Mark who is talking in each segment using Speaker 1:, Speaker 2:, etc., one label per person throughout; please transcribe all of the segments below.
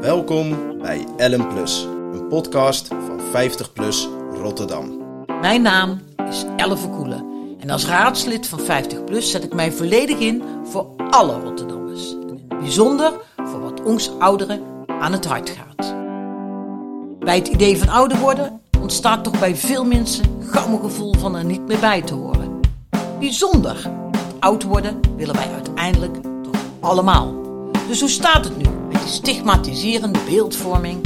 Speaker 1: Welkom bij Ellen Plus, een podcast van 50 Plus Rotterdam.
Speaker 2: Mijn naam is Elle Verkoelen en als raadslid van 50PLUS zet ik mij volledig in voor alle Rotterdammers. En in het bijzonder voor wat ons ouderen aan het hart gaat. Bij het idee van ouder worden ontstaat toch bij veel mensen gauw een gevoel van er niet meer bij te horen. Bijzonder, want oud worden willen wij uiteindelijk toch allemaal. Dus hoe staat het nu met die stigmatiserende beeldvorming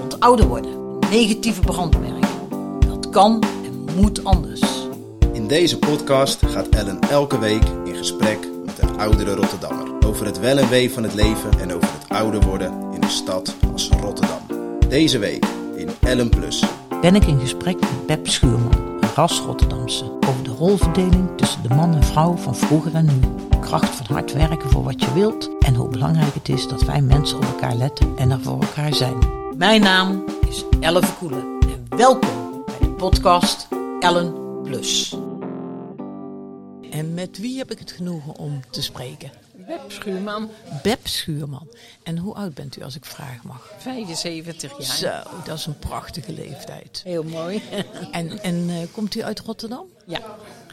Speaker 2: rond ouder worden? Negatieve brandmerken. Dat kan en moet anders.
Speaker 1: In deze podcast gaat Ellen elke week in gesprek met een oudere Rotterdammer over het wel en wee van het leven en over het ouder worden in een stad als Rotterdam. Deze week in Ellen Plus.
Speaker 2: Ben ik in gesprek met Pep Schuurman, een ras Rotterdamse, over de rolverdeling tussen de man en vrouw van vroeger en nu. Kracht van hard werken voor wat je wilt en hoe belangrijk het is dat wij mensen op elkaar letten en er voor elkaar zijn. Mijn naam is Ellen Verkoelen en welkom bij de podcast Ellen Plus. En met wie heb ik het genoegen om te spreken?
Speaker 3: Web Schuurman,
Speaker 2: Beb Schuurman. En hoe oud bent u als ik vragen mag?
Speaker 3: 75 jaar.
Speaker 2: Zo, dat is een prachtige leeftijd.
Speaker 3: Heel mooi.
Speaker 2: En, en eh, komt u uit Rotterdam?
Speaker 3: ja,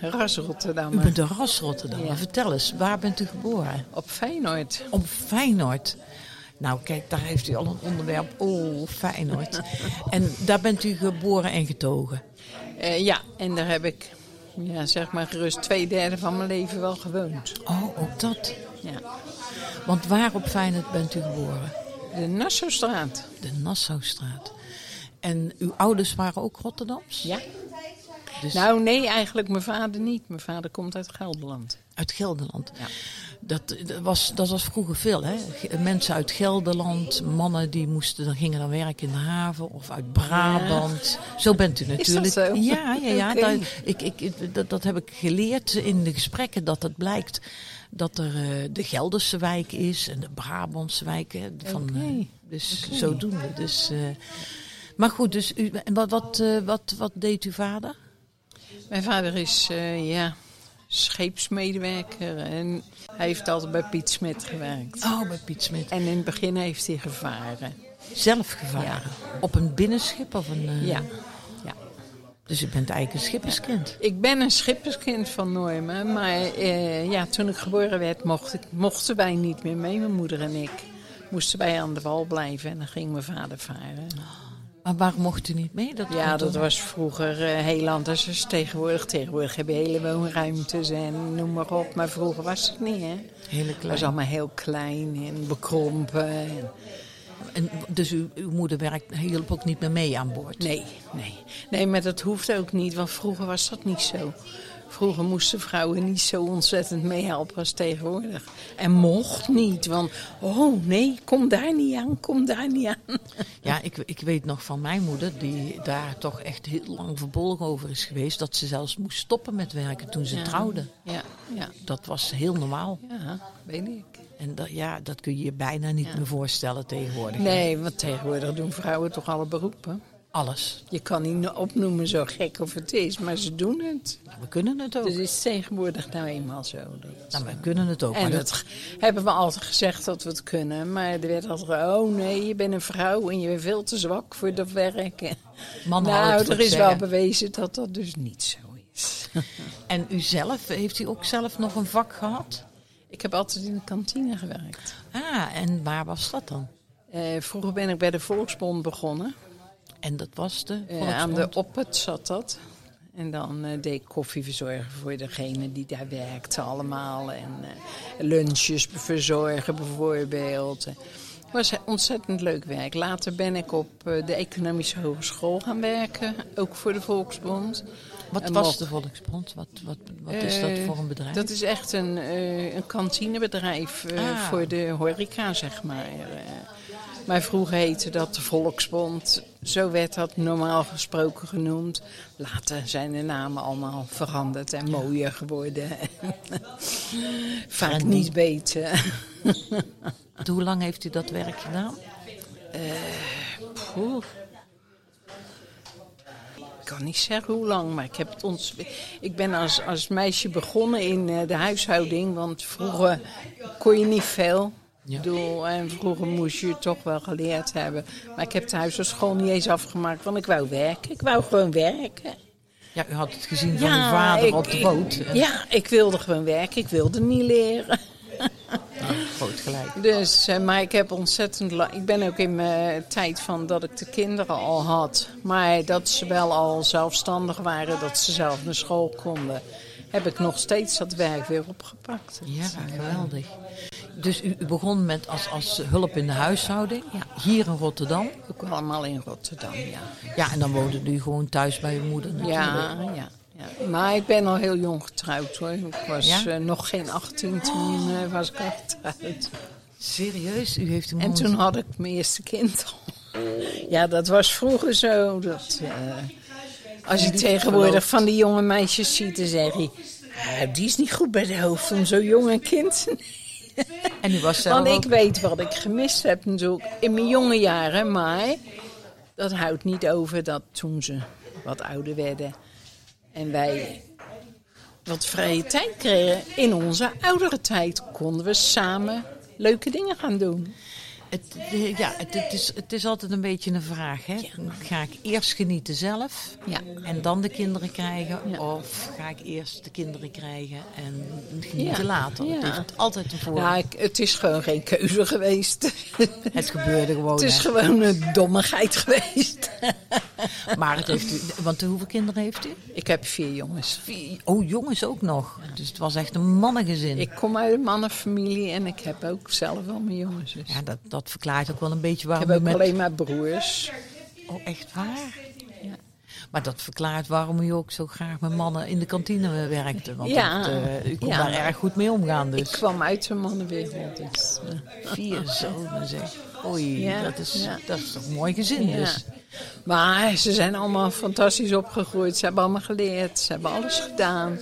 Speaker 3: ras
Speaker 2: U
Speaker 3: Rotterdammer.
Speaker 2: bent een ras Rotterdammer.
Speaker 3: Ja.
Speaker 2: Vertel eens, waar bent u geboren?
Speaker 3: Op Feyenoord.
Speaker 2: Op Feyenoord. Nou, kijk, daar heeft u al een onderwerp. Oh, Feyenoord. en daar bent u geboren en getogen.
Speaker 3: Eh, ja, en daar heb ik ja, zeg maar gerust twee derde van mijn leven wel gewoond.
Speaker 2: Oh, ook dat.
Speaker 3: Ja.
Speaker 2: Want waar op Feyenoord bent u geboren?
Speaker 3: De Nassaustraat.
Speaker 2: De Nassaustraat. En uw ouders waren ook Rotterdams?
Speaker 3: Ja.
Speaker 2: Dus
Speaker 3: Nou nee, eigenlijk mijn vader niet. Mijn vader komt uit Gelderland.
Speaker 2: uit Gelderland.
Speaker 3: Ja.
Speaker 2: Dat, dat was, dat was vroeger veel, hè? G- Mensen uit Gelderland, mannen die moesten, dan gingen dan werken in de haven of uit Brabant. Zo bent u natuurlijk.
Speaker 3: zo?
Speaker 2: Ja, ja, ja.
Speaker 3: Oké.
Speaker 2: daar- ik, ik, ik- dat, dat heb ik geleerd in de gesprekken, dat het blijkt dat er eh, de Gelderse wijk is en de Brabantse wijk. Hè, van, eh,
Speaker 3: Oké.
Speaker 2: dus zodoende. Dus, eh, maar goed, dus u, en wat, wat, eh, wat, wat deed uw vader?
Speaker 3: Mijn vader is eh, ja, scheepsmedewerker en hij heeft altijd bij Piet Smit gewerkt.
Speaker 2: Oh, bij Piet Smit.
Speaker 3: En in het begin heeft hij gevaren.
Speaker 2: Zelf gevaren. Op een binnenschip of een... eh,
Speaker 3: Ja. ja.
Speaker 2: Dus u bent eigenlijk een schipperskind.
Speaker 3: Ik ben een schipperskind van Normen, maar eh, ja, toen ik geboren werd mocht ik- mochten wij niet meer mee, mijn moeder en ik. Moesten wij aan de wal blijven en dan ging mijn vader varen.
Speaker 2: Maar waarom mocht u niet mee? Dat
Speaker 3: Ja,
Speaker 2: komt
Speaker 3: dat
Speaker 2: door-
Speaker 3: was vroeger eh, heel anders dan tegenwoordig. Tegenwoordig heb je hele woonruimtes en noem maar op, maar vroeger was het niet, hè.
Speaker 2: Hele
Speaker 3: Het was
Speaker 2: klein.
Speaker 3: allemaal heel klein en bekrompen. en-
Speaker 2: En, dus uw, uw moeder werkt, hielp ook niet meer mee aan boord?
Speaker 3: Nee, nee. Nee, maar dat hoeft ook niet, want vroeger was dat niet zo. Vroeger moesten vrouwen niet zo ontzettend meehelpen als tegenwoordig. En mocht niet, want oh nee, kom daar niet aan, kom daar niet aan.
Speaker 2: Ja, ik, ik weet nog van mijn moeder, die daar toch echt heel lang verbolgen over is geweest, dat ze zelfs moest stoppen met werken toen ze trouwde.
Speaker 3: Ja, ja,
Speaker 2: Dat was heel normaal.
Speaker 3: ja, weet ik.
Speaker 2: En dat, ja, dat kun je je bijna niet meer voorstellen tegenwoordig.
Speaker 3: Nee, want tegenwoordig doen vrouwen toch alle beroepen.
Speaker 2: Alles.
Speaker 3: Je kan niet opnoemen zo gek of het is, maar ze doen het.
Speaker 2: Nou, We kunnen het ook.
Speaker 3: Dus het is tegenwoordig nou eenmaal zo. Dat-
Speaker 2: Nou, we kunnen het ook.
Speaker 3: En
Speaker 2: maar
Speaker 3: dat hebben we altijd gezegd dat we het kunnen. Maar er werd altijd, gezegd, oh nee, je bent een vrouw en je bent veel te zwak voor dat werk.
Speaker 2: mannen hadden
Speaker 3: nou,
Speaker 2: het
Speaker 3: er
Speaker 2: ook
Speaker 3: is wel
Speaker 2: zeggen.
Speaker 3: bewezen dat dat dus niet zo is.
Speaker 2: En u zelf, heeft u ook zelf nog een vak gehad?
Speaker 3: ik heb altijd in de kantine gewerkt.
Speaker 2: Ah, en waar was dat dan?
Speaker 3: Eh, vroeger ben ik bij de Volksbond begonnen.
Speaker 2: En dat was de
Speaker 3: Eh, aan
Speaker 2: Volksbond?
Speaker 3: de Oppert zat dat. En dan eh, deed ik koffie verzorgen voor degene die daar werkte allemaal. En eh, lunches verzorgen bijvoorbeeld. Het was ontzettend leuk werk. Later ben ik op eh, de Economische Hogeschool gaan werken. Ook voor de Volksbond.
Speaker 2: Wat
Speaker 3: En
Speaker 2: was
Speaker 3: mocht-
Speaker 2: de Volksbond? Wat, wat, wat is dat
Speaker 3: Eh,
Speaker 2: voor een bedrijf?
Speaker 3: Dat is echt een, eh, een kantinebedrijf eh,
Speaker 2: Ah.
Speaker 3: voor de horeca, zeg maar. Eh, maar vroeger heette dat de Volksbond. Zo werd dat normaal gesproken genoemd. Later zijn de namen allemaal veranderd en mooier geworden. Vaak
Speaker 2: Trendy.
Speaker 3: niet beter.
Speaker 2: Want Hoe lang heeft u dat werk gedaan?
Speaker 3: Oeh. Ik kan niet zeggen hoe lang, maar ik, heb het ons... ik ben als, als meisje begonnen in eh, de huishouding. Want vroeger kon je niet veel.
Speaker 2: Ja.
Speaker 3: Ik bedoel, en vroeger moest je het toch wel geleerd hebben. Maar ik heb de huisartschool niet eens afgemaakt, want ik wou werken. Ik wou gewoon werken.
Speaker 2: Ja, u had het gezien van uw vader
Speaker 3: ik-
Speaker 2: op de boot.
Speaker 3: ik- ja, ik wilde gewoon werken. Ik wilde niet leren.
Speaker 2: Groot gelijk.
Speaker 3: Dus, eh, maar ik heb ontzettend lang. Ik ben ook in mijn tijd van dat ik de kinderen al had. Maar dat ze wel al zelfstandig waren, dat ze zelf naar school konden. Heb ik nog steeds dat werk weer opgepakt.
Speaker 2: Ja, geweldig. Dus u, u begon met als, als hulp in de huishouding, ja. hier in Rotterdam.
Speaker 3: Ook allemaal in Rotterdam, ja.
Speaker 2: Ja, en dan woonde u gewoon thuis bij uw moeder natuurlijk.
Speaker 3: Ja, ja, ja. Maar ik ben al heel jong getrouwd hoor. Ik was
Speaker 2: Ja?
Speaker 3: eh, nog geen 18 toen eh, was ik al getrouwd.
Speaker 2: Serieus, u heeft hem
Speaker 3: En toen had ik mijn eerste kind al. Ja, dat was vroeger zo. Dat, eh, als je tegenwoordig van die jonge meisjes ziet, dan zeg je... "Ah, die is niet goed bij de hoofd om zo'n jong een kind te
Speaker 2: En u was zelf
Speaker 3: want ik
Speaker 2: ook-
Speaker 3: weet wat ik gemist heb natuurlijk in mijn jonge jaren, maar dat houdt niet over dat toen ze wat ouder werden en wij wat vrije tijd kregen. In onze oudere tijd konden we samen leuke dingen gaan doen.
Speaker 2: Het, eh, ja, het, het is, het is altijd een beetje een vraag. Hè? Ga ik eerst genieten zelf
Speaker 3: Ja.
Speaker 2: en dan de kinderen krijgen?
Speaker 3: Ja.
Speaker 2: Of ga ik eerst de kinderen krijgen en genieten
Speaker 3: Ja.
Speaker 2: later? Het
Speaker 3: Ja. Nou,
Speaker 2: heeft altijd een voordeel.
Speaker 3: Ja, ik- het is gewoon geen keuze geweest.
Speaker 2: het gebeurde gewoon.
Speaker 3: het is
Speaker 2: hè.
Speaker 3: gewoon een dommigheid geweest.
Speaker 2: Maar het heeft u, want hoeveel kinderen heeft u?
Speaker 3: Ik heb vier jongens.
Speaker 2: Vier. Oh, jongens ook nog. Dus het was echt een mannengezin.
Speaker 3: Ik kom uit een mannenfamilie en ik heb ook zelf al mijn jongens. dus.
Speaker 2: Ja, dat, dat verklaart ook wel een beetje
Speaker 3: Ik
Speaker 2: waarom
Speaker 3: heb ook
Speaker 2: u met...
Speaker 3: alleen maar broers.
Speaker 2: Oh, echt waar?
Speaker 3: Ja.
Speaker 2: Maar dat verklaart waarom u ook zo graag met mannen in de kantine werkte. Want
Speaker 3: Ja.
Speaker 2: dat, eh, u kon
Speaker 3: Ja.
Speaker 2: daar erg goed mee omgaan
Speaker 3: Ik
Speaker 2: dus.
Speaker 3: kwam uit de mannenwereld. Dus, eh,
Speaker 2: Vier zonen zeg. Oei,
Speaker 3: Ja,
Speaker 2: dat, is,
Speaker 3: ja.
Speaker 2: dat is toch een mooi gezin
Speaker 3: ja.
Speaker 2: dus.
Speaker 3: Maar ze zijn allemaal fantastisch opgegroeid. Ze hebben allemaal geleerd. Ze hebben alles gedaan.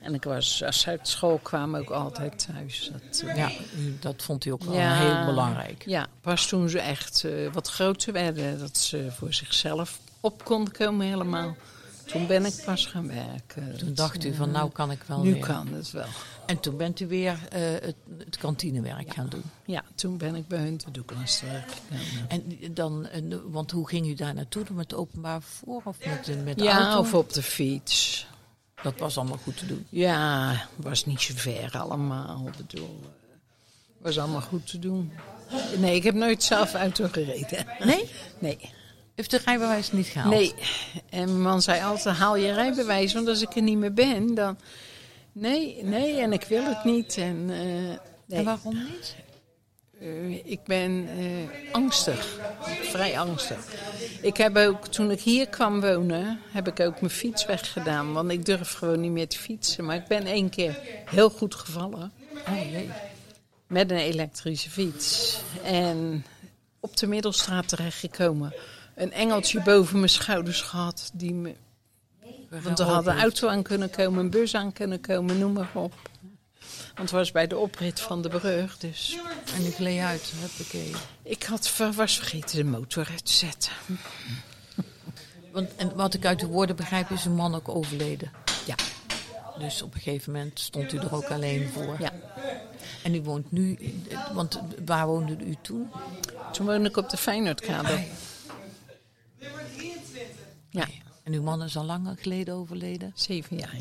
Speaker 3: En ik was, als ze uit school kwamen, ook altijd thuis. Dat, eh,
Speaker 2: Ja, u- dat vond u ook wel
Speaker 3: Ja.
Speaker 2: heel belangrijk.
Speaker 3: ja, pas toen ze echt eh, wat groter werden, dat ze voor zichzelf op konden komen helemaal. Toen ben ik pas gaan werken.
Speaker 2: Toen
Speaker 3: Dat,
Speaker 2: dacht u van nou kan ik wel
Speaker 3: eh, nu
Speaker 2: weer.
Speaker 3: kan het wel.
Speaker 2: En toen bent u weer eh, het, het kantinewerk gaan doen.
Speaker 3: Ja, toen ben ik bij hun te Douglas terechtgekomen.
Speaker 2: En dan, eh, want hoe ging u daar naartoe? Met het openbaar vervoer of met, de- met de
Speaker 3: Ja,
Speaker 2: auto?
Speaker 3: of op de fiets.
Speaker 2: Dat was allemaal goed te doen.
Speaker 3: Ja, was niet zo ver allemaal. Ik bedoel, eh, was allemaal goed te doen. Nee, ik heb nooit zelf auto gereden.
Speaker 2: Nee?
Speaker 3: Nee,
Speaker 2: Heeft de rijbewijs niet gehaald?
Speaker 3: nee. En mijn man zei altijd, haal je rijbewijs, want als ik er niet meer ben, dan... Nee, nee, en ik wil het niet. En, eh, nee.
Speaker 2: En waarom niet?
Speaker 3: Eh, ik ben eh, angstig, vrij angstig. Ik heb ook, toen ik hier kwam wonen, heb ik ook mijn fiets weggedaan. Want ik durf gewoon niet meer te fietsen. Maar ik ben één keer heel goed gevallen.
Speaker 2: Oh jee.
Speaker 3: met een elektrische fiets. En op de middelstraat terechtgekomen. Een engeltje boven mijn schouders gehad. Die me, want er had een auto aan kunnen komen, een bus aan kunnen komen, noem maar op. Want het was bij de oprit van de brug. Dus
Speaker 2: En ik leed uit. Huppakee.
Speaker 3: ik had, ver- was vergeten de motor uit te zetten.
Speaker 2: Want, en wat ik uit uw woorden begrijp is uw man ook overleden.
Speaker 3: Ja.
Speaker 2: Dus op een gegeven moment stond u er ook alleen voor.
Speaker 3: Ja.
Speaker 2: En u woont nu, eh, want waar woonde u toen?
Speaker 3: Toen woonde ik op de Feyenoordkade. Ja,
Speaker 2: En uw man is al lang geleden overleden?
Speaker 3: zeven jaar.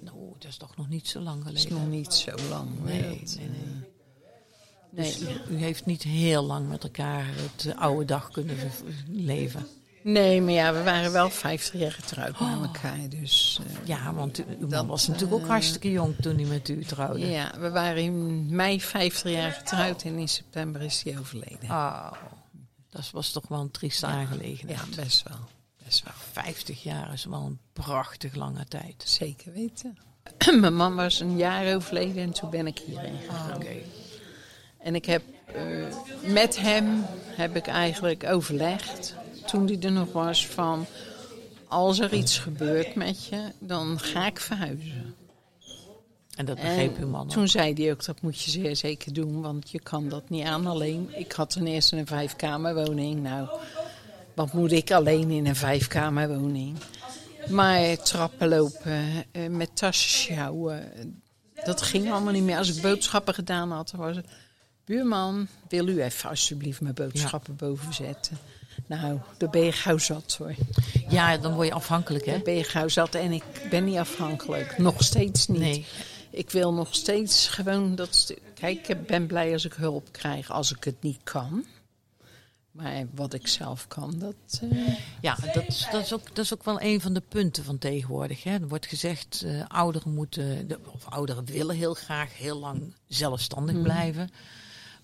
Speaker 2: Nou, dat is toch nog niet zo lang
Speaker 3: Dat is
Speaker 2: geleden?
Speaker 3: nog niet zo lang.
Speaker 2: Nee,
Speaker 3: Nee, dat,
Speaker 2: nee, nee.
Speaker 3: eh, nee.
Speaker 2: U heeft niet heel lang met elkaar het eh, oude dag kunnen ver- leven.
Speaker 3: Nee, maar ja, we waren wel 50 jaar getrouwd met elkaar. Dus, eh,
Speaker 2: Ja, want u- uw man
Speaker 3: Dat, eh,
Speaker 2: was natuurlijk ook hartstikke jong toen hij met u trouwde.
Speaker 3: ja, we waren in mei 50 jaar getrouwd en in september is hij overleden.
Speaker 2: Oh, dat was toch wel een trieste aangelegenheid.
Speaker 3: Ja, best wel. Best wel.
Speaker 2: 50 jaar is wel een prachtig lange tijd.
Speaker 3: Zeker weten. Mijn man was een jaar overleden en toen ben ik hierheen gegaan. En ik heb eh, met hem heb ik eigenlijk overlegd, toen hij er nog was, van als er iets gebeurt met je, dan ga ik verhuizen.
Speaker 2: En dat
Speaker 3: En
Speaker 2: begreep uw man ook.
Speaker 3: Toen zei hij ook, dat moet je zeer zeker doen, want je kan dat niet aan alleen. Ik had ten eerste een vijfkamerwoning. Nou, wat moet ik alleen in een vijfkamerwoning? Maar trappen lopen, eh, met tassen sjouwen, eh, dat ging allemaal niet meer. Als ik boodschappen gedaan had, dan was het Buurman, wil u even alsjeblieft mijn boodschappen boven zetten? Nou, daar ben je gauw zat hoor.
Speaker 2: Ja, dan word je afhankelijk, hè?
Speaker 3: Daar ben je gauw zat en ik ben niet afhankelijk. Nog steeds niet.
Speaker 2: Nee.
Speaker 3: Ik wil nog steeds gewoon dat... stu- Kijk, ik ben blij als ik hulp krijg als ik het niet kan. Maar wat ik zelf kan, dat... eh,
Speaker 2: Ja, dat is, dat, is ook, dat is ook wel een van de punten van tegenwoordig. Hè. Er wordt gezegd, eh, ouderen moeten, de- of ouderen willen heel graag heel lang zelfstandig blijven.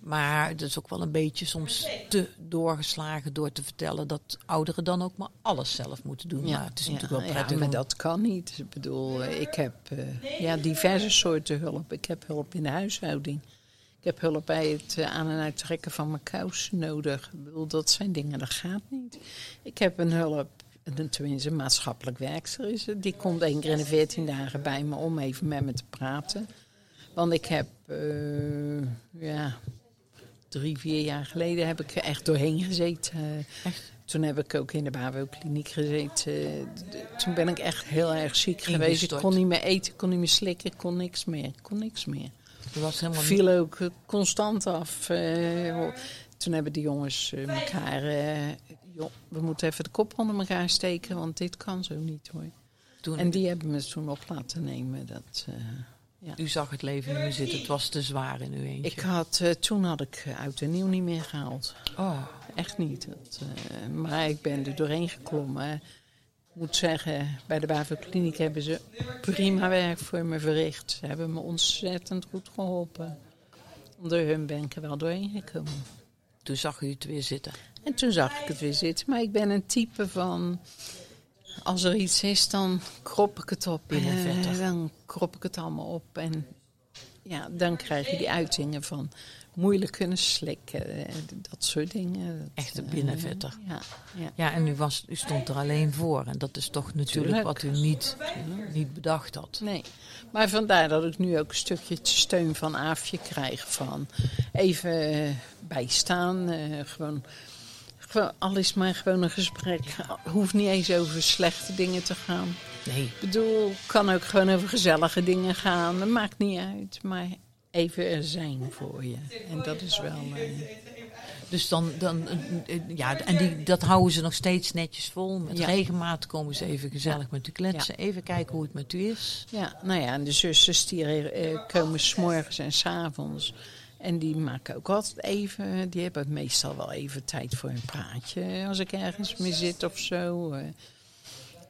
Speaker 2: Maar het is ook wel een beetje soms te doorgeslagen door te vertellen dat ouderen dan ook maar alles zelf moeten doen. Ja, het is natuurlijk wel prettig.
Speaker 3: Ja, maar
Speaker 2: om-
Speaker 3: dat kan niet. Ik bedoel, eh, ik heb eh, ja, diverse soorten hulp. Ik heb hulp in de huishouding. Ik heb hulp bij het eh, aan- en uittrekken van mijn kousen nodig. Ik bedoel, dat zijn dingen, dat gaat niet. Ik heb een hulp, eh, tenminste een maatschappelijk werkster is het. Die komt één keer in de veertien dagen bij me om even met me te praten. Want ik heb, eh, ja, drie, vier jaar geleden heb ik er echt doorheen gezeten. Eh, Toen heb ik ook in de BAVO-kliniek gezeten. D- d- Toen ben ik echt heel erg ziek geweest. Ik
Speaker 2: Ingestort.
Speaker 3: kon niet meer eten, kon niet meer slikken, kon niks meer. Kon niks meer.
Speaker 2: er was helemaal niet-
Speaker 3: Viel ook eh, constant af. eh, ho- toen hebben de jongens eh, elkaar... eh, joh, we moeten even de kop onder elkaar steken, want dit kan zo niet hoor.
Speaker 2: toen,
Speaker 3: En die hebben me toen op laten nemen. Dat, eh,
Speaker 2: U zag het leven niet meer zitten. Het was te zwaar in uw eentje.
Speaker 3: ik had, eh, toen had ik eh, oud en nieuw niet meer gehaald.
Speaker 2: Oh,
Speaker 3: Echt niet. Dat, eh, maar ik ben er doorheen geklommen. Ik moet zeggen, bij de Bavelkliniek hebben ze prima werk voor me verricht. Ze hebben me ontzettend goed geholpen. Door hun ben ik er wel doorheen gekomen.
Speaker 2: toen zag u het weer zitten.
Speaker 3: En toen zag ik het weer zitten. Maar ik ben een type van... Als er iets is, dan krop ik het op.
Speaker 2: Binnen
Speaker 3: Eh,
Speaker 2: 40.
Speaker 3: dan krop ik het allemaal op. En ja, dan krijg je die uitingen van moeilijk kunnen slikken. eh, Dat soort dingen. Dat,
Speaker 2: Echt een
Speaker 3: eh,
Speaker 2: binnenvetter.
Speaker 3: Ja, ja.
Speaker 2: Ja, en u, was, u stond er alleen voor. En dat is toch natuurlijk
Speaker 3: Tuurlijk.
Speaker 2: wat u niet, niet bedacht had.
Speaker 3: Nee, maar vandaar dat ik nu ook een stukje steun van Aafje krijg. Van even eh, bijstaan, eh, gewoon, gewoon, al is maar gewoon een gesprek. Hoeft niet eens over slechte dingen te gaan.
Speaker 2: Nee,
Speaker 3: Ik bedoel, kan ook gewoon over gezellige dingen gaan. Dat maakt niet uit, maar even er zijn voor je. En dat is wel... eh,
Speaker 2: Dus dan, dan eh, eh, ja, en die, dat houden ze nog steeds netjes vol. Met
Speaker 3: Ja.
Speaker 2: regelmaat komen ze even gezellig met u kletsen. Even kijken hoe het met u is.
Speaker 3: Ja, nou ja, en de zusters die eh, komen s'morgens en s'avonds. En die maken ook altijd even, die hebben meestal wel even tijd voor een praatje. Als ik ergens mee zit of zo. eh.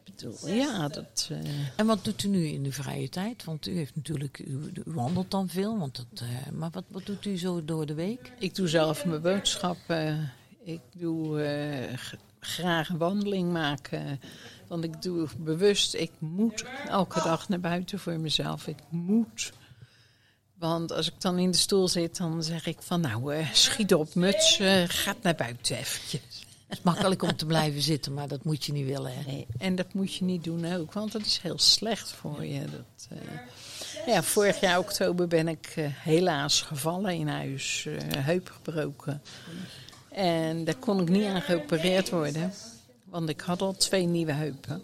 Speaker 3: Ik bedoel, ja, dat... eh,
Speaker 2: En wat doet u nu in de vrije tijd? Want u heeft natuurlijk, u, u wandelt dan veel. Want dat, eh, maar wat, wat doet u zo door de week?
Speaker 3: ik doe zelf mijn boodschappen. Ik doe eh, g- graag een wandeling maken. Want ik doe bewust, ik moet elke dag naar buiten voor mezelf. Ik moet. Want als ik dan in de stoel zit, dan zeg ik van nou, eh, schiet op muts, eh, gaat naar buiten eventjes.
Speaker 2: Het is makkelijk om te blijven zitten, maar dat moet je niet willen. Hè?
Speaker 3: Nee, en dat moet je niet doen ook, want dat is heel slecht voor je. Dat, eh, ja, vorig jaar oktober ben ik eh, helaas gevallen in huis, eh, heup gebroken. En daar kon ik niet aan geopereerd worden, want ik had al twee nieuwe heupen.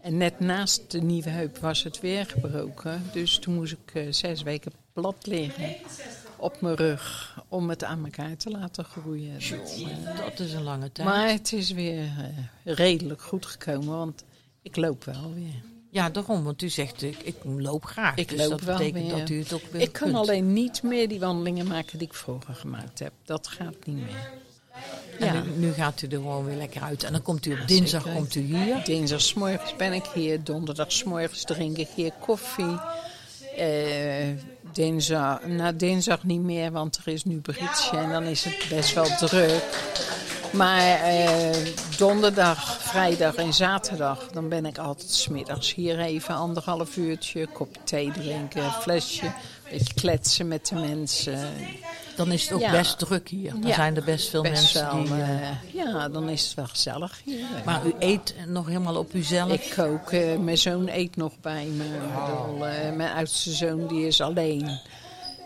Speaker 3: En net naast de nieuwe heup was het weer gebroken, dus toen moest ik eh, zes weken plat liggen op mijn rug om het aan elkaar te laten groeien. Dat, eh,
Speaker 2: Dat is een lange tijd.
Speaker 3: maar het is weer eh, redelijk goed gekomen, want ik loop wel weer.
Speaker 2: ja, daarom. Want u zegt, ik, ik loop graag.
Speaker 3: Ik
Speaker 2: dus
Speaker 3: loop
Speaker 2: dat
Speaker 3: wel
Speaker 2: betekent
Speaker 3: weer.
Speaker 2: dat u het ook weer
Speaker 3: Ik kan
Speaker 2: kunt.
Speaker 3: alleen niet meer die wandelingen maken die ik vroeger gemaakt heb. Dat gaat niet meer.
Speaker 2: En
Speaker 3: Ja.
Speaker 2: nu, nu gaat u er gewoon weer lekker uit. En dan komt u op dinsdag
Speaker 3: zeker.
Speaker 2: komt u hier.
Speaker 3: Dinsdagsmorgens ben ik hier, donderdagsmorgens drink ik hier koffie. Eh, dinsdag, na dinsdag niet meer, want er is nu Britje en dan is het best wel druk. Maar eh, donderdag, vrijdag en zaterdag, dan ben ik altijd smiddags hier even anderhalf uurtje, kopje thee drinken, flesje, beetje kletsen met de mensen.
Speaker 2: Dan is het ook
Speaker 3: Ja.
Speaker 2: best druk hier. Dan
Speaker 3: Ja.
Speaker 2: zijn er best veel
Speaker 3: Best
Speaker 2: mensen
Speaker 3: wel,
Speaker 2: die... eh,
Speaker 3: eh, ja, dan is het wel gezellig hier.
Speaker 2: Maar u eet nog helemaal op uzelf.
Speaker 3: Ik kook. eh, mijn zoon eet nog bij me. Ik bedoel, eh, mijn oudste zoon die is alleen.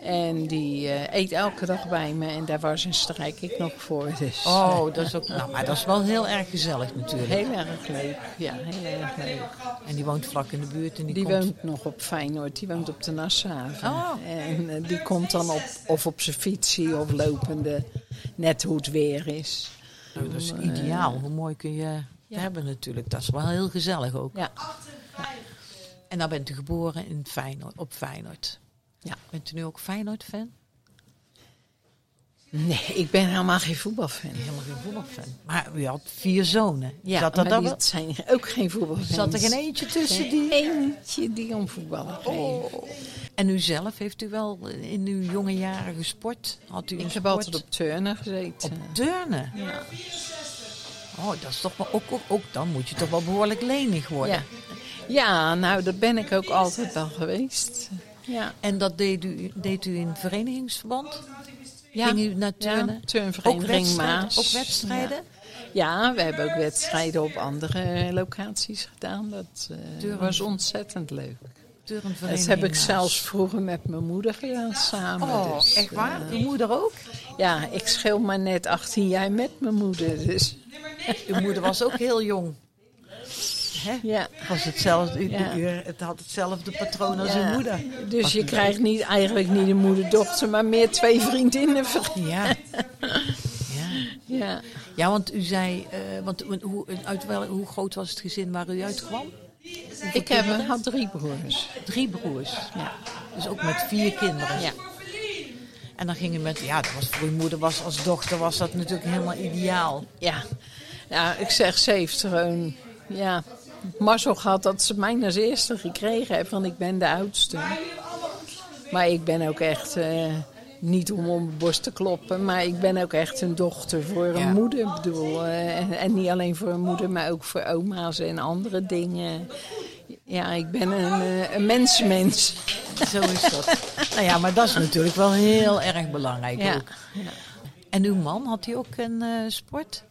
Speaker 3: En die eh, eet elke dag bij me en daar was en strijk ik nog voor. Dus
Speaker 2: Oh, dat is ook. Nou, maar dat is wel heel erg gezellig natuurlijk.
Speaker 3: heel erg leuk. Ja, heel erg leuk.
Speaker 2: En die woont vlak in de buurt en die,
Speaker 3: Die
Speaker 2: komt.
Speaker 3: woont nog op Feyenoord, die woont op de Nasshaven.
Speaker 2: Oh.
Speaker 3: En eh, die komt dan op, of op zijn fietsie of lopende, net hoe het weer is.
Speaker 2: Nou, dat is ideaal. Hoe mooi kun je het hebben natuurlijk. Dat is wel heel gezellig ook.
Speaker 3: Ja,
Speaker 2: En dan bent u geboren in Feyenoord, op Feyenoord.
Speaker 3: Ja.
Speaker 2: Bent u nu ook Feyenoord-fan?
Speaker 3: nee, ik ben helemaal geen voetbalfan.
Speaker 2: Helemaal geen voetbalfan. Maar u had vier zonen.
Speaker 3: Ja,
Speaker 2: zat, er
Speaker 3: maar
Speaker 2: dan
Speaker 3: die
Speaker 2: wel-
Speaker 3: zijn ook geen voetbalfans.
Speaker 2: zat er geen eentje tussen die...
Speaker 3: eentje die om voetballen geeft.
Speaker 2: Oh. En u zelf, heeft u wel in uw jonge jaren gesport? Had u een
Speaker 3: Ik heb
Speaker 2: sport?
Speaker 3: altijd op turnen gezeten.
Speaker 2: Op turnen?
Speaker 3: Ja.
Speaker 2: Oh, dat is toch wel... Ook, ook, ook dan moet je toch wel behoorlijk lenig worden.
Speaker 3: Ja. ja, nou, dat ben ik ook altijd wel geweest. Ja.
Speaker 2: En dat deed u, deed u in verenigingsverband?
Speaker 3: Ja.
Speaker 2: Ging u naar
Speaker 3: Ja,
Speaker 2: turnen? ook
Speaker 3: turnvereniging
Speaker 2: wedstrijden?
Speaker 3: Maas.
Speaker 2: Ook wedstrijden?
Speaker 3: Ja, we hebben ook wedstrijden op andere locaties gedaan. Dat eh,
Speaker 2: Turnen.
Speaker 3: was ontzettend leuk. Dat
Speaker 2: Turnvereniging
Speaker 3: heb ik
Speaker 2: Maas.
Speaker 3: zelfs vroeger met mijn moeder gedaan samen.
Speaker 2: Oh,
Speaker 3: dus,
Speaker 2: echt waar?
Speaker 3: eh,
Speaker 2: Uw moeder ook?
Speaker 3: ja, ik scheel maar net 18 jaar met mijn moeder. Dus
Speaker 2: Uw moeder was ook heel jong. Hè?
Speaker 3: ja.
Speaker 2: Was hetzelfde, u,
Speaker 3: Ja.
Speaker 2: u- het had hetzelfde patroon als
Speaker 3: Ja.
Speaker 2: uw moeder.
Speaker 3: Dus
Speaker 2: Was
Speaker 3: je
Speaker 2: het-
Speaker 3: krijgt niet, eigenlijk niet een moeder-dochter, maar meer twee vriendinnen.
Speaker 2: Ja. ja.
Speaker 3: Ja.
Speaker 2: Ja, want u zei, eh, want hoe, uit wel, hoe groot was het gezin waar u uitkwam?
Speaker 3: Ik heb, had drie broers.
Speaker 2: Drie broers.
Speaker 3: Ja.
Speaker 2: Dus ook met vier kinderen.
Speaker 3: Ja.
Speaker 2: En dan ging u met, ja, dat was voor uw moeder was als dochter was dat natuurlijk helemaal ideaal.
Speaker 3: Ja, ja ik zeg, ze heeft gewoon ja, mazzel gehad dat ze mij als eerste gekregen heeft, want ik ben de oudste. Maar ik ben ook echt, eh, niet om om mijn borst te kloppen, maar ik ben ook echt een dochter voor een
Speaker 2: Ja.
Speaker 3: moeder. Ik bedoel, eh, en, en niet alleen voor een moeder, maar ook voor oma's en andere dingen. Ja, ik ben een, eh, een mensenmens.
Speaker 2: Zo is dat. nou ja, maar dat is natuurlijk wel heel erg belangrijk
Speaker 3: Ja.
Speaker 2: ook. En uw man, had hij ook een eh, sport?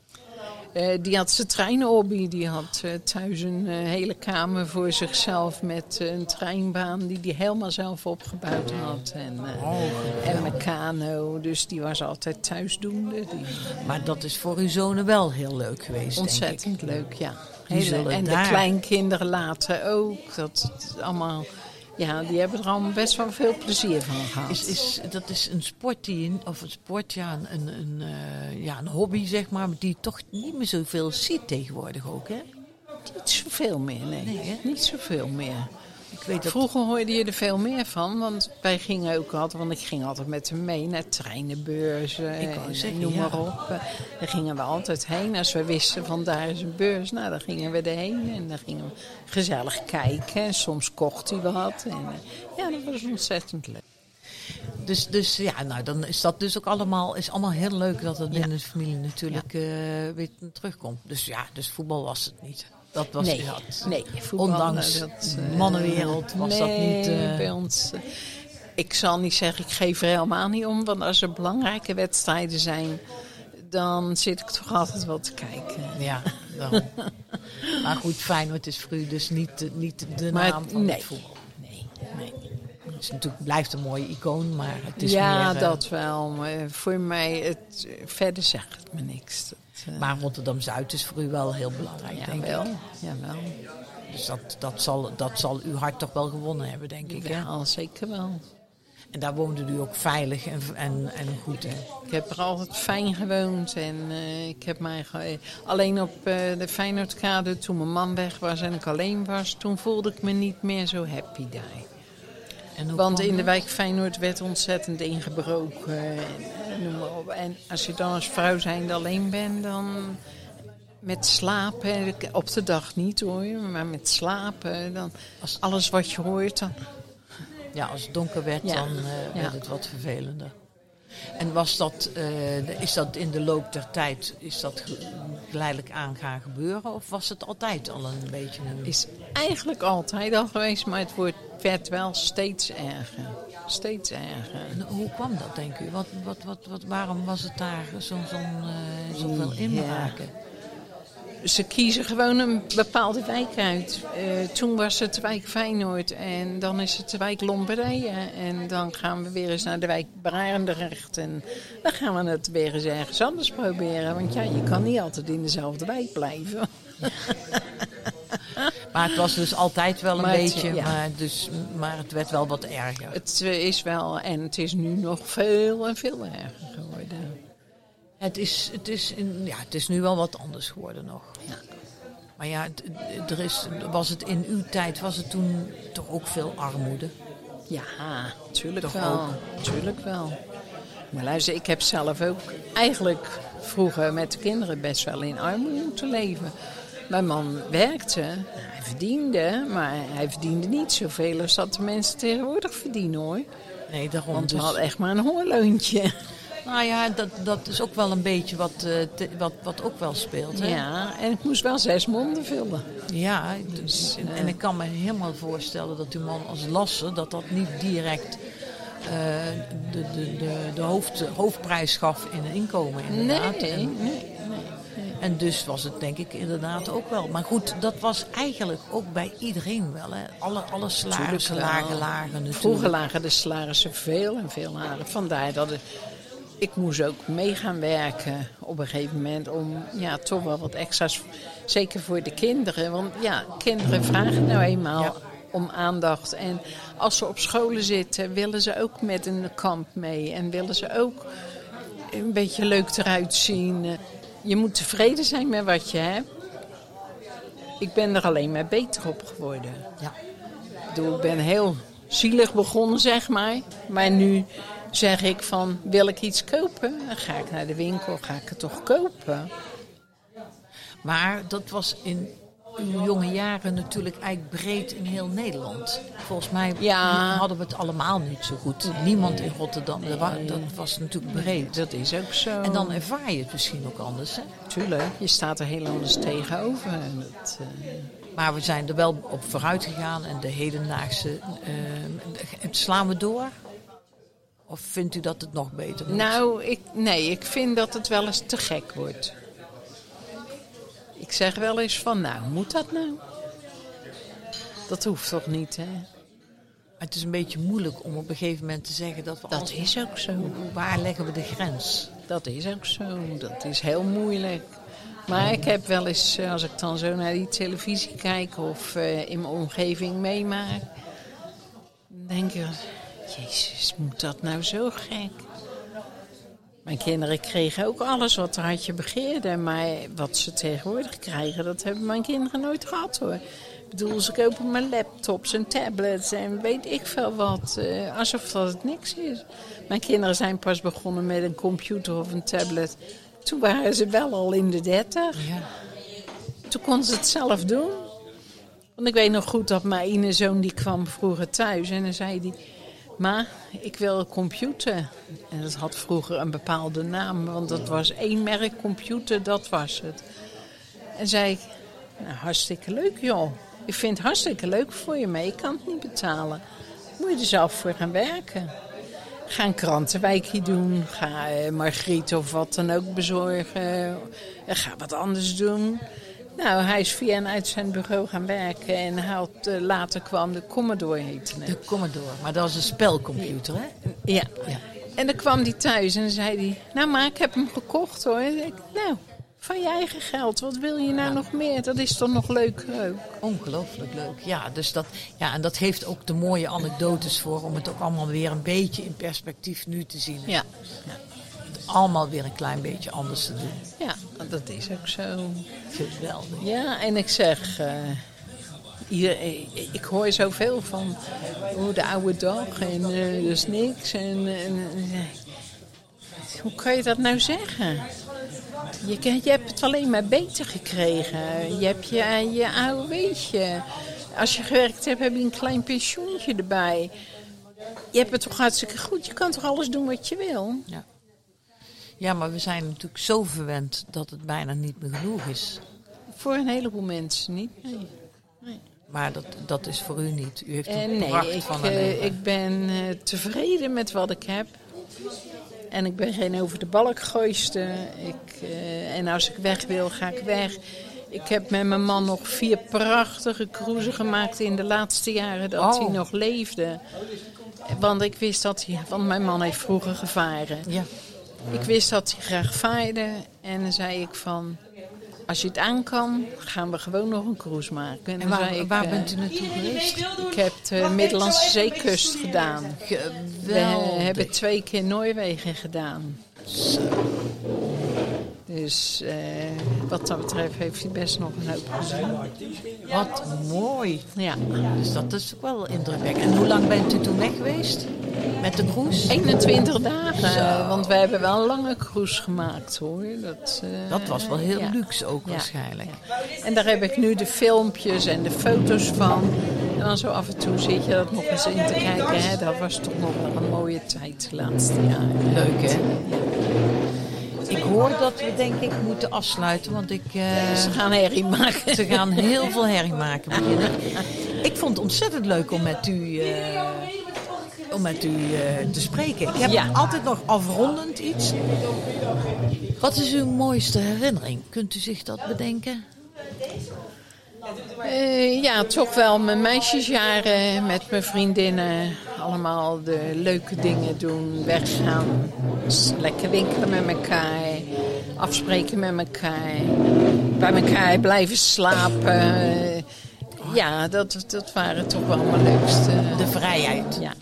Speaker 3: Eh, die had zijn treinhobby. Die had eh, thuis een eh, hele kamer voor zichzelf met eh, een treinbaan die hij helemaal zelf opgebouwd had. En, eh,
Speaker 2: Oh,
Speaker 3: en een kano. Dus die was altijd thuisdoende. Die,
Speaker 2: Maar dat is voor uw zonen wel heel leuk geweest, denk ik.
Speaker 3: ontzettend leuk, ja.
Speaker 2: Die
Speaker 3: Hele-
Speaker 2: zullen
Speaker 3: en
Speaker 2: daar-
Speaker 3: de kleinkinderen later ook. Dat is allemaal, ja, die hebben er allemaal best wel veel plezier van gehad.
Speaker 2: Is, is, dat is een sport die, een- of een sport, ja, een, een, een, eh, ja, een hobby zeg maar, die je toch niet meer zoveel ziet tegenwoordig ook, hè?
Speaker 3: Niet zoveel meer, nee.
Speaker 2: Nee, hè?
Speaker 3: Niet zoveel meer.
Speaker 2: Ik weet dat...
Speaker 3: Vroeger hoorde je er veel meer van, want wij gingen ook altijd, want ik ging altijd met hem mee naar treinenbeurzen
Speaker 2: Ik wou
Speaker 3: en
Speaker 2: zeggen,
Speaker 3: noem
Speaker 2: ja.
Speaker 3: maar op. Eh, Daar gingen we altijd heen. Als we wisten van daar is een beurs, nou dan gingen we erheen en dan gingen we gezellig kijken. En soms kocht hij wat. En, eh, ja, dat was ontzettend leuk.
Speaker 2: Dus, dus ja, nou, dan is dat dus ook allemaal, is allemaal heel leuk dat dat
Speaker 3: Ja.
Speaker 2: in de familie natuurlijk eh, weer terugkomt. Dus ja, dus voetbal was het niet. Dat was
Speaker 3: nee,
Speaker 2: dat.
Speaker 3: nee, voetbal,
Speaker 2: Ondanks
Speaker 3: eh, eh,
Speaker 2: mannenwereld was dat
Speaker 3: nee,
Speaker 2: niet, eh,
Speaker 3: bij ons. eh, Ik zal niet zeggen, ik geef er helemaal niet om, want als er belangrijke wedstrijden zijn, dan zit ik toch altijd wel te kijken.
Speaker 2: Ja, daarom. maar goed, Feyenoord is voor u dus niet, de- niet de
Speaker 3: Maar
Speaker 2: naam
Speaker 3: het-
Speaker 2: van
Speaker 3: nee.
Speaker 2: het voetbal.
Speaker 3: Nee, nee.
Speaker 2: Het is natuurlijk, blijft een mooie icoon, maar het is
Speaker 3: ja,
Speaker 2: meer... eh,
Speaker 3: dat wel. maar voor mij, het, eh, verder zegt het me niks. Dat, eh,
Speaker 2: Maar Rotterdam-Zuid is voor u wel heel belangrijk, denk
Speaker 3: jawel,
Speaker 2: ik.
Speaker 3: jawel.
Speaker 2: Dus dat, dat, zal, dat zal uw hart toch wel gewonnen hebben, denk ik. Hè?
Speaker 3: Jawel, zeker wel.
Speaker 2: En daar woonde u ook veilig en, en, en goed in.
Speaker 3: Ik heb er altijd fijn gewoond en eh, ik heb mij ge- alleen op eh, de Feyenoordkade toen mijn man weg was en ik alleen was, toen voelde ik me niet meer zo happy daar.
Speaker 2: En hoe
Speaker 3: Want
Speaker 2: kwam
Speaker 3: in de
Speaker 2: dat?
Speaker 3: wijk Feyenoord werd ontzettend ingebroken. En, eh, noem maar op. en als je dan als vrouw zijnde alleen bent, dan met slapen, en ik- op de dag niet hoor, maar met slapen, dan als alles wat je hoort, dan
Speaker 2: Ja, als het donker werd,
Speaker 3: Ja.
Speaker 2: dan eh, werd
Speaker 3: Ja.
Speaker 2: het wat vervelender. En was dat, eh, is dat in de loop der tijd is dat ge- geleidelijk aan gaan gebeuren? Of was het altijd al een beetje een...
Speaker 3: is eigenlijk altijd al geweest, maar het wordt, werd wel steeds erger. Steeds erger.
Speaker 2: En Nou, Hoe kwam dat, denk u? Wat, wat, wat, wat, waarom was het daar zo'n zo'n eh, zoveel inbraken?
Speaker 3: ze kiezen gewoon een bepaalde wijk uit. Eh, toen was het de wijk Feyenoord en dan is het de wijk Lombardije. En dan gaan we weer eens naar de wijk Barendrecht. En dan gaan we het weer eens ergens anders proberen. Want ja, je kan niet altijd in dezelfde wijk blijven.
Speaker 2: Maar het was dus altijd wel een
Speaker 3: Maar het-
Speaker 2: beetje,
Speaker 3: ja.
Speaker 2: maar, dus, maar het werd wel wat erger.
Speaker 3: Het eh, is wel, en het is nu nog veel en veel erger geworden.
Speaker 2: Het is, het is, in- ja, het is nu wel wat anders geworden nog. Maar ja, het- het- er is, was het in uw tijd was het toen toch ook veel armoede.
Speaker 3: Ja, tuurlijk
Speaker 2: Toch
Speaker 3: wel. Tuurlijk wel. Maar luister, ik heb zelf ook eigenlijk vroeger met de kinderen best wel in armoede moeten leven. Mijn man werkte, hij verdiende, maar hij verdiende niet zoveel als dat de mensen tegenwoordig verdienen hoor.
Speaker 2: Nee, daarom.
Speaker 3: Want hij
Speaker 2: dus-
Speaker 3: had echt maar een hoorloontje.
Speaker 2: nou ja, dat, dat is ook wel een beetje wat, eh, te- wat, wat ook wel speelt. Hè?
Speaker 3: Ja, en ik moest wel zes monden vullen.
Speaker 2: Ja, dus,
Speaker 3: eh,
Speaker 2: en ik kan me helemaal voorstellen dat uw man als lasser dat dat niet direct eh, de, de, de, de hoofd, hoofdprijs gaf in een inkomen inderdaad.
Speaker 3: Nee,
Speaker 2: En,
Speaker 3: nee,
Speaker 2: en dus was het denk ik inderdaad ook wel. Maar goed, dat was eigenlijk ook bij iedereen wel. Hè? Alle, alle salarissen
Speaker 3: Tuurlijk
Speaker 2: lagen
Speaker 3: wel.
Speaker 2: lager natuurlijk.
Speaker 3: Vroeger lagen de salarissen veel en veel lager. Vandaar dat het- ik moest ook mee gaan werken op een gegeven moment om ja, toch wel wat extra's, zeker voor de kinderen. Want ja, kinderen vragen nou eenmaal
Speaker 2: Ja.
Speaker 3: om aandacht. En als ze op scholen zitten, willen ze ook met een kamp mee en willen ze ook een beetje leuk eruit zien. Je moet tevreden zijn met wat je hebt. Ik ben er alleen maar beter op geworden.
Speaker 2: Ja.
Speaker 3: Ik bedoel, ik ben heel zielig begonnen, zeg maar. Maar nu zeg ik van, wil ik iets kopen? Dan ga ik naar de winkel, ga ik het toch kopen?
Speaker 2: Maar dat was in uw jonge jaren natuurlijk eigenlijk breed in heel Nederland. Volgens mij
Speaker 3: Ja.
Speaker 2: hadden we het allemaal niet zo goed. Niemand in Rotterdam, dat wa- dat was natuurlijk breed.
Speaker 3: Dat is ook zo.
Speaker 2: En dan ervaar je het misschien ook anders. Hè?
Speaker 3: natuurlijk, je staat er heel anders tegenover. En dat, eh,
Speaker 2: Maar we zijn er wel op vooruit gegaan en de hedendaagse. eh, slaan we door? Of vindt u dat het nog beter moet?
Speaker 3: Nou, ik, nee, ik vind dat het wel eens te gek wordt. Ik zeg wel eens van, nou, moet dat nou? Dat hoeft toch niet, hè?
Speaker 2: Het is een beetje moeilijk om op een gegeven moment te zeggen dat we.
Speaker 3: Dat
Speaker 2: alles-
Speaker 3: is ook zo.
Speaker 2: Hoe- Waar leggen we de grens?
Speaker 3: Dat is ook zo. Dat is heel moeilijk. Maar ik heb wel eens, eh, als ik dan zo naar die televisie kijk of eh, in mijn omgeving meemaak, dan denk ik, jezus, moet dat nou zo gek? Mijn kinderen kregen ook alles wat er hartje begeerde, maar wat ze tegenwoordig krijgen, dat hebben mijn kinderen nooit gehad hoor. Ik bedoel, ze kopen maar laptops en tablets en weet ik veel wat, eh, alsof dat het niks is. Mijn kinderen zijn pas begonnen met een computer of een tablet. Toen waren ze wel al in de dertig.
Speaker 2: Ja.
Speaker 3: Toen kon ze het zelf doen. Want ik weet nog goed dat mijn ene zoon die kwam vroeger thuis en dan zei hij... Ma, ik wil een computer. En dat had vroeger een bepaalde naam, want dat was één merk computer, dat was het. En zei ik, nou hartstikke leuk joh. Ik vind het hartstikke leuk voor je, maar ik kan het niet betalen. Moet je er zelf voor gaan werken. Ga een krantenwijkje doen. Ga eh, Margriet of wat dan ook bezorgen. Eh, ga wat anders doen. Nou, hij is via en uit zijn bureau gaan werken. En hij had, eh, later kwam de Commodore heette het.
Speaker 2: De Commodore, maar dat is een spelcomputer, hè?
Speaker 3: Ja.
Speaker 2: Ja.
Speaker 3: En dan kwam hij thuis en dan zei hij... Nou, maar ik heb hem gekocht hoor. En ik, nou, van je eigen geld. Wat wil je nou nog meer? Dat is toch nog leuk ook.
Speaker 2: Ongelooflijk leuk. Ja, dus dat, ja, en dat heeft ook de mooie anekdotes voor om het ook allemaal weer een beetje in perspectief nu te zien.
Speaker 3: Ja.
Speaker 2: Het allemaal weer een klein beetje anders te doen.
Speaker 3: Ja, Nou, dat is ook zo.
Speaker 2: Geweldig.
Speaker 3: Ja, en ik zeg. eh, ieder- eh, ik hoor zoveel van. Oh, de oude dag en eh, dus niks. En, en- en- eh, hoe kan je dat nou zeggen? Je, ke- je hebt het alleen maar beter gekregen. Je hebt je, je AOW'tje. Als je gewerkt hebt, heb je een klein pensioentje erbij. Je hebt het toch hartstikke goed. Je kan toch alles doen wat je wil?
Speaker 2: Ja. ja, maar we zijn natuurlijk zo verwend dat het bijna niet meer genoeg is.
Speaker 3: Voor een heleboel mensen niet. Nee.
Speaker 2: Maar dat, dat is voor u niet. U heeft
Speaker 3: Eh,
Speaker 2: een pracht
Speaker 3: nee, ik,
Speaker 2: van een
Speaker 3: eh,
Speaker 2: leven.
Speaker 3: ik ben eh, tevreden met wat ik heb. En ik ben geen over de balk gooiste. Ik, eh, en als ik weg wil, ga ik weg. Ik heb met mijn man nog vier prachtige cruisen gemaakt in de laatste jaren dat
Speaker 2: Oh.
Speaker 3: hij nog leefde. Want ik wist dat hij, want mijn man heeft vroeger gevaren.
Speaker 2: Ja.
Speaker 3: Ik wist dat hij graag vaarde en dan zei ik van, als je het aan kan, gaan we gewoon nog een cruise maken.
Speaker 2: En
Speaker 3: dan
Speaker 2: waar,
Speaker 3: zei ik,
Speaker 2: waar
Speaker 3: eh,
Speaker 2: bent u naartoe geweest?
Speaker 3: Ik heb de Middellandse Zeekust gedaan. We
Speaker 2: Geweldig.
Speaker 3: hebben twee keer Noorwegen gedaan. Dus eh, wat dat betreft heeft hij best nog een hoop gezien.
Speaker 2: Wat mooi.
Speaker 3: Ja,
Speaker 2: Dus dat is ook wel indrukwekkend. En hoe lang bent u toen weg geweest? Met de cruise?
Speaker 3: 21 dagen. Want we hebben wel een lange cruise gemaakt hoor. Dat, eh,
Speaker 2: Dat was wel heel
Speaker 3: ja.
Speaker 2: luxe ook
Speaker 3: Ja,
Speaker 2: waarschijnlijk.
Speaker 3: ja. En daar heb ik nu de filmpjes en de foto's van. En dan zo af en toe zit je dat nog eens in te kijken. Hè. Dat was toch nog wel een mooie tijd de laatste jaren.
Speaker 2: Leuk hè? Ik hoor dat we denk ik moeten afsluiten, want ik... eh,
Speaker 3: Ze gaan herrie maken.
Speaker 2: Ze gaan heel veel herrie maken beginnen. Ik vond het ontzettend leuk om met u, eh, om met u eh, te spreken. Ik heb
Speaker 3: Ja.
Speaker 2: altijd nog afrondend iets. Wat is uw mooiste herinnering? Kunt u zich dat bedenken?
Speaker 3: Eh, ja, toch wel mijn meisjesjaren met mijn vriendinnen. Allemaal de leuke dingen doen, weggaan. s- Lekker winkelen met elkaar, afspreken met elkaar. Bij elkaar blijven slapen. Eh, Ja, dat, dat waren toch wel mijn leukste.
Speaker 2: De vrijheid.
Speaker 3: Ja.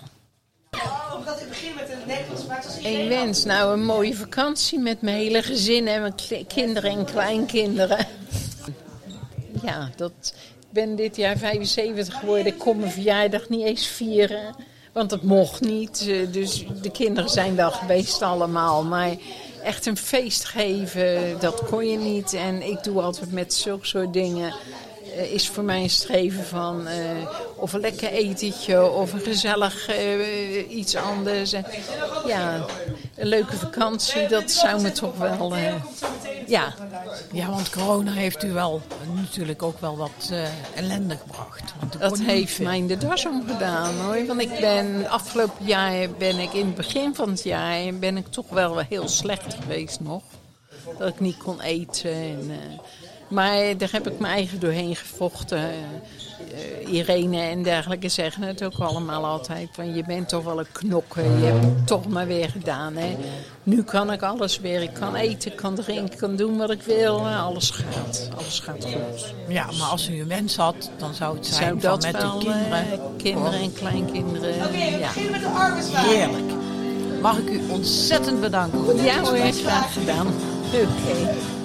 Speaker 4: Oh, Omdat ik begin met een Nederlands, maar het was
Speaker 3: Ik wens nou een mooie vakantie met mijn hele gezin en mijn kle- kinderen en kleinkinderen. Ja, dat, ik ben dit jaar 75 geworden. Ik kon mijn verjaardag niet eens vieren, want dat mocht niet. Eh, Dus de kinderen zijn wel geweest allemaal, maar echt een feest geven, dat kon je niet. En ik doe altijd met zulke soort dingen... eh, Is voor mij een streven van eh, of een lekker etentje of een gezellig eh, iets anders. En, ja, een leuke vakantie, dat zou me toch wel. eh, ja,
Speaker 2: Ja, want corona heeft u wel natuurlijk ook wel wat eh, ellende gebracht. Want u
Speaker 3: Dat
Speaker 2: kon
Speaker 3: heeft
Speaker 2: niet, eh,
Speaker 3: mij de das omgedaan hoor. Want ik ben afgelopen jaar ben ik in het begin van het jaar ben ik toch wel heel slecht geweest nog. Dat ik niet kon eten. En, eh, maar daar heb ik mijn eigen doorheen gevochten. Eh, Irene en dergelijke zeggen het ook allemaal altijd. Van je bent toch wel een knokker. Je hebt het toch maar weer gedaan. Hè. Nu kan ik alles weer. Ik kan eten, kan drinken, kan doen wat ik wil. Alles gaat. Alles gaat goed.
Speaker 2: Ja, maar als u een wens had, dan zou het zijn
Speaker 3: Zou
Speaker 2: van
Speaker 3: dat
Speaker 2: met uw
Speaker 3: wel,
Speaker 2: kinderen.
Speaker 3: eh, kinderen en kleinkinderen. ja.
Speaker 4: beginnen met een arbeidswaarde.
Speaker 2: Heerlijk. Mag ik u ontzettend bedanken voor dit
Speaker 3: ja hoor,
Speaker 2: gesprek.
Speaker 3: graag gedaan. Oké.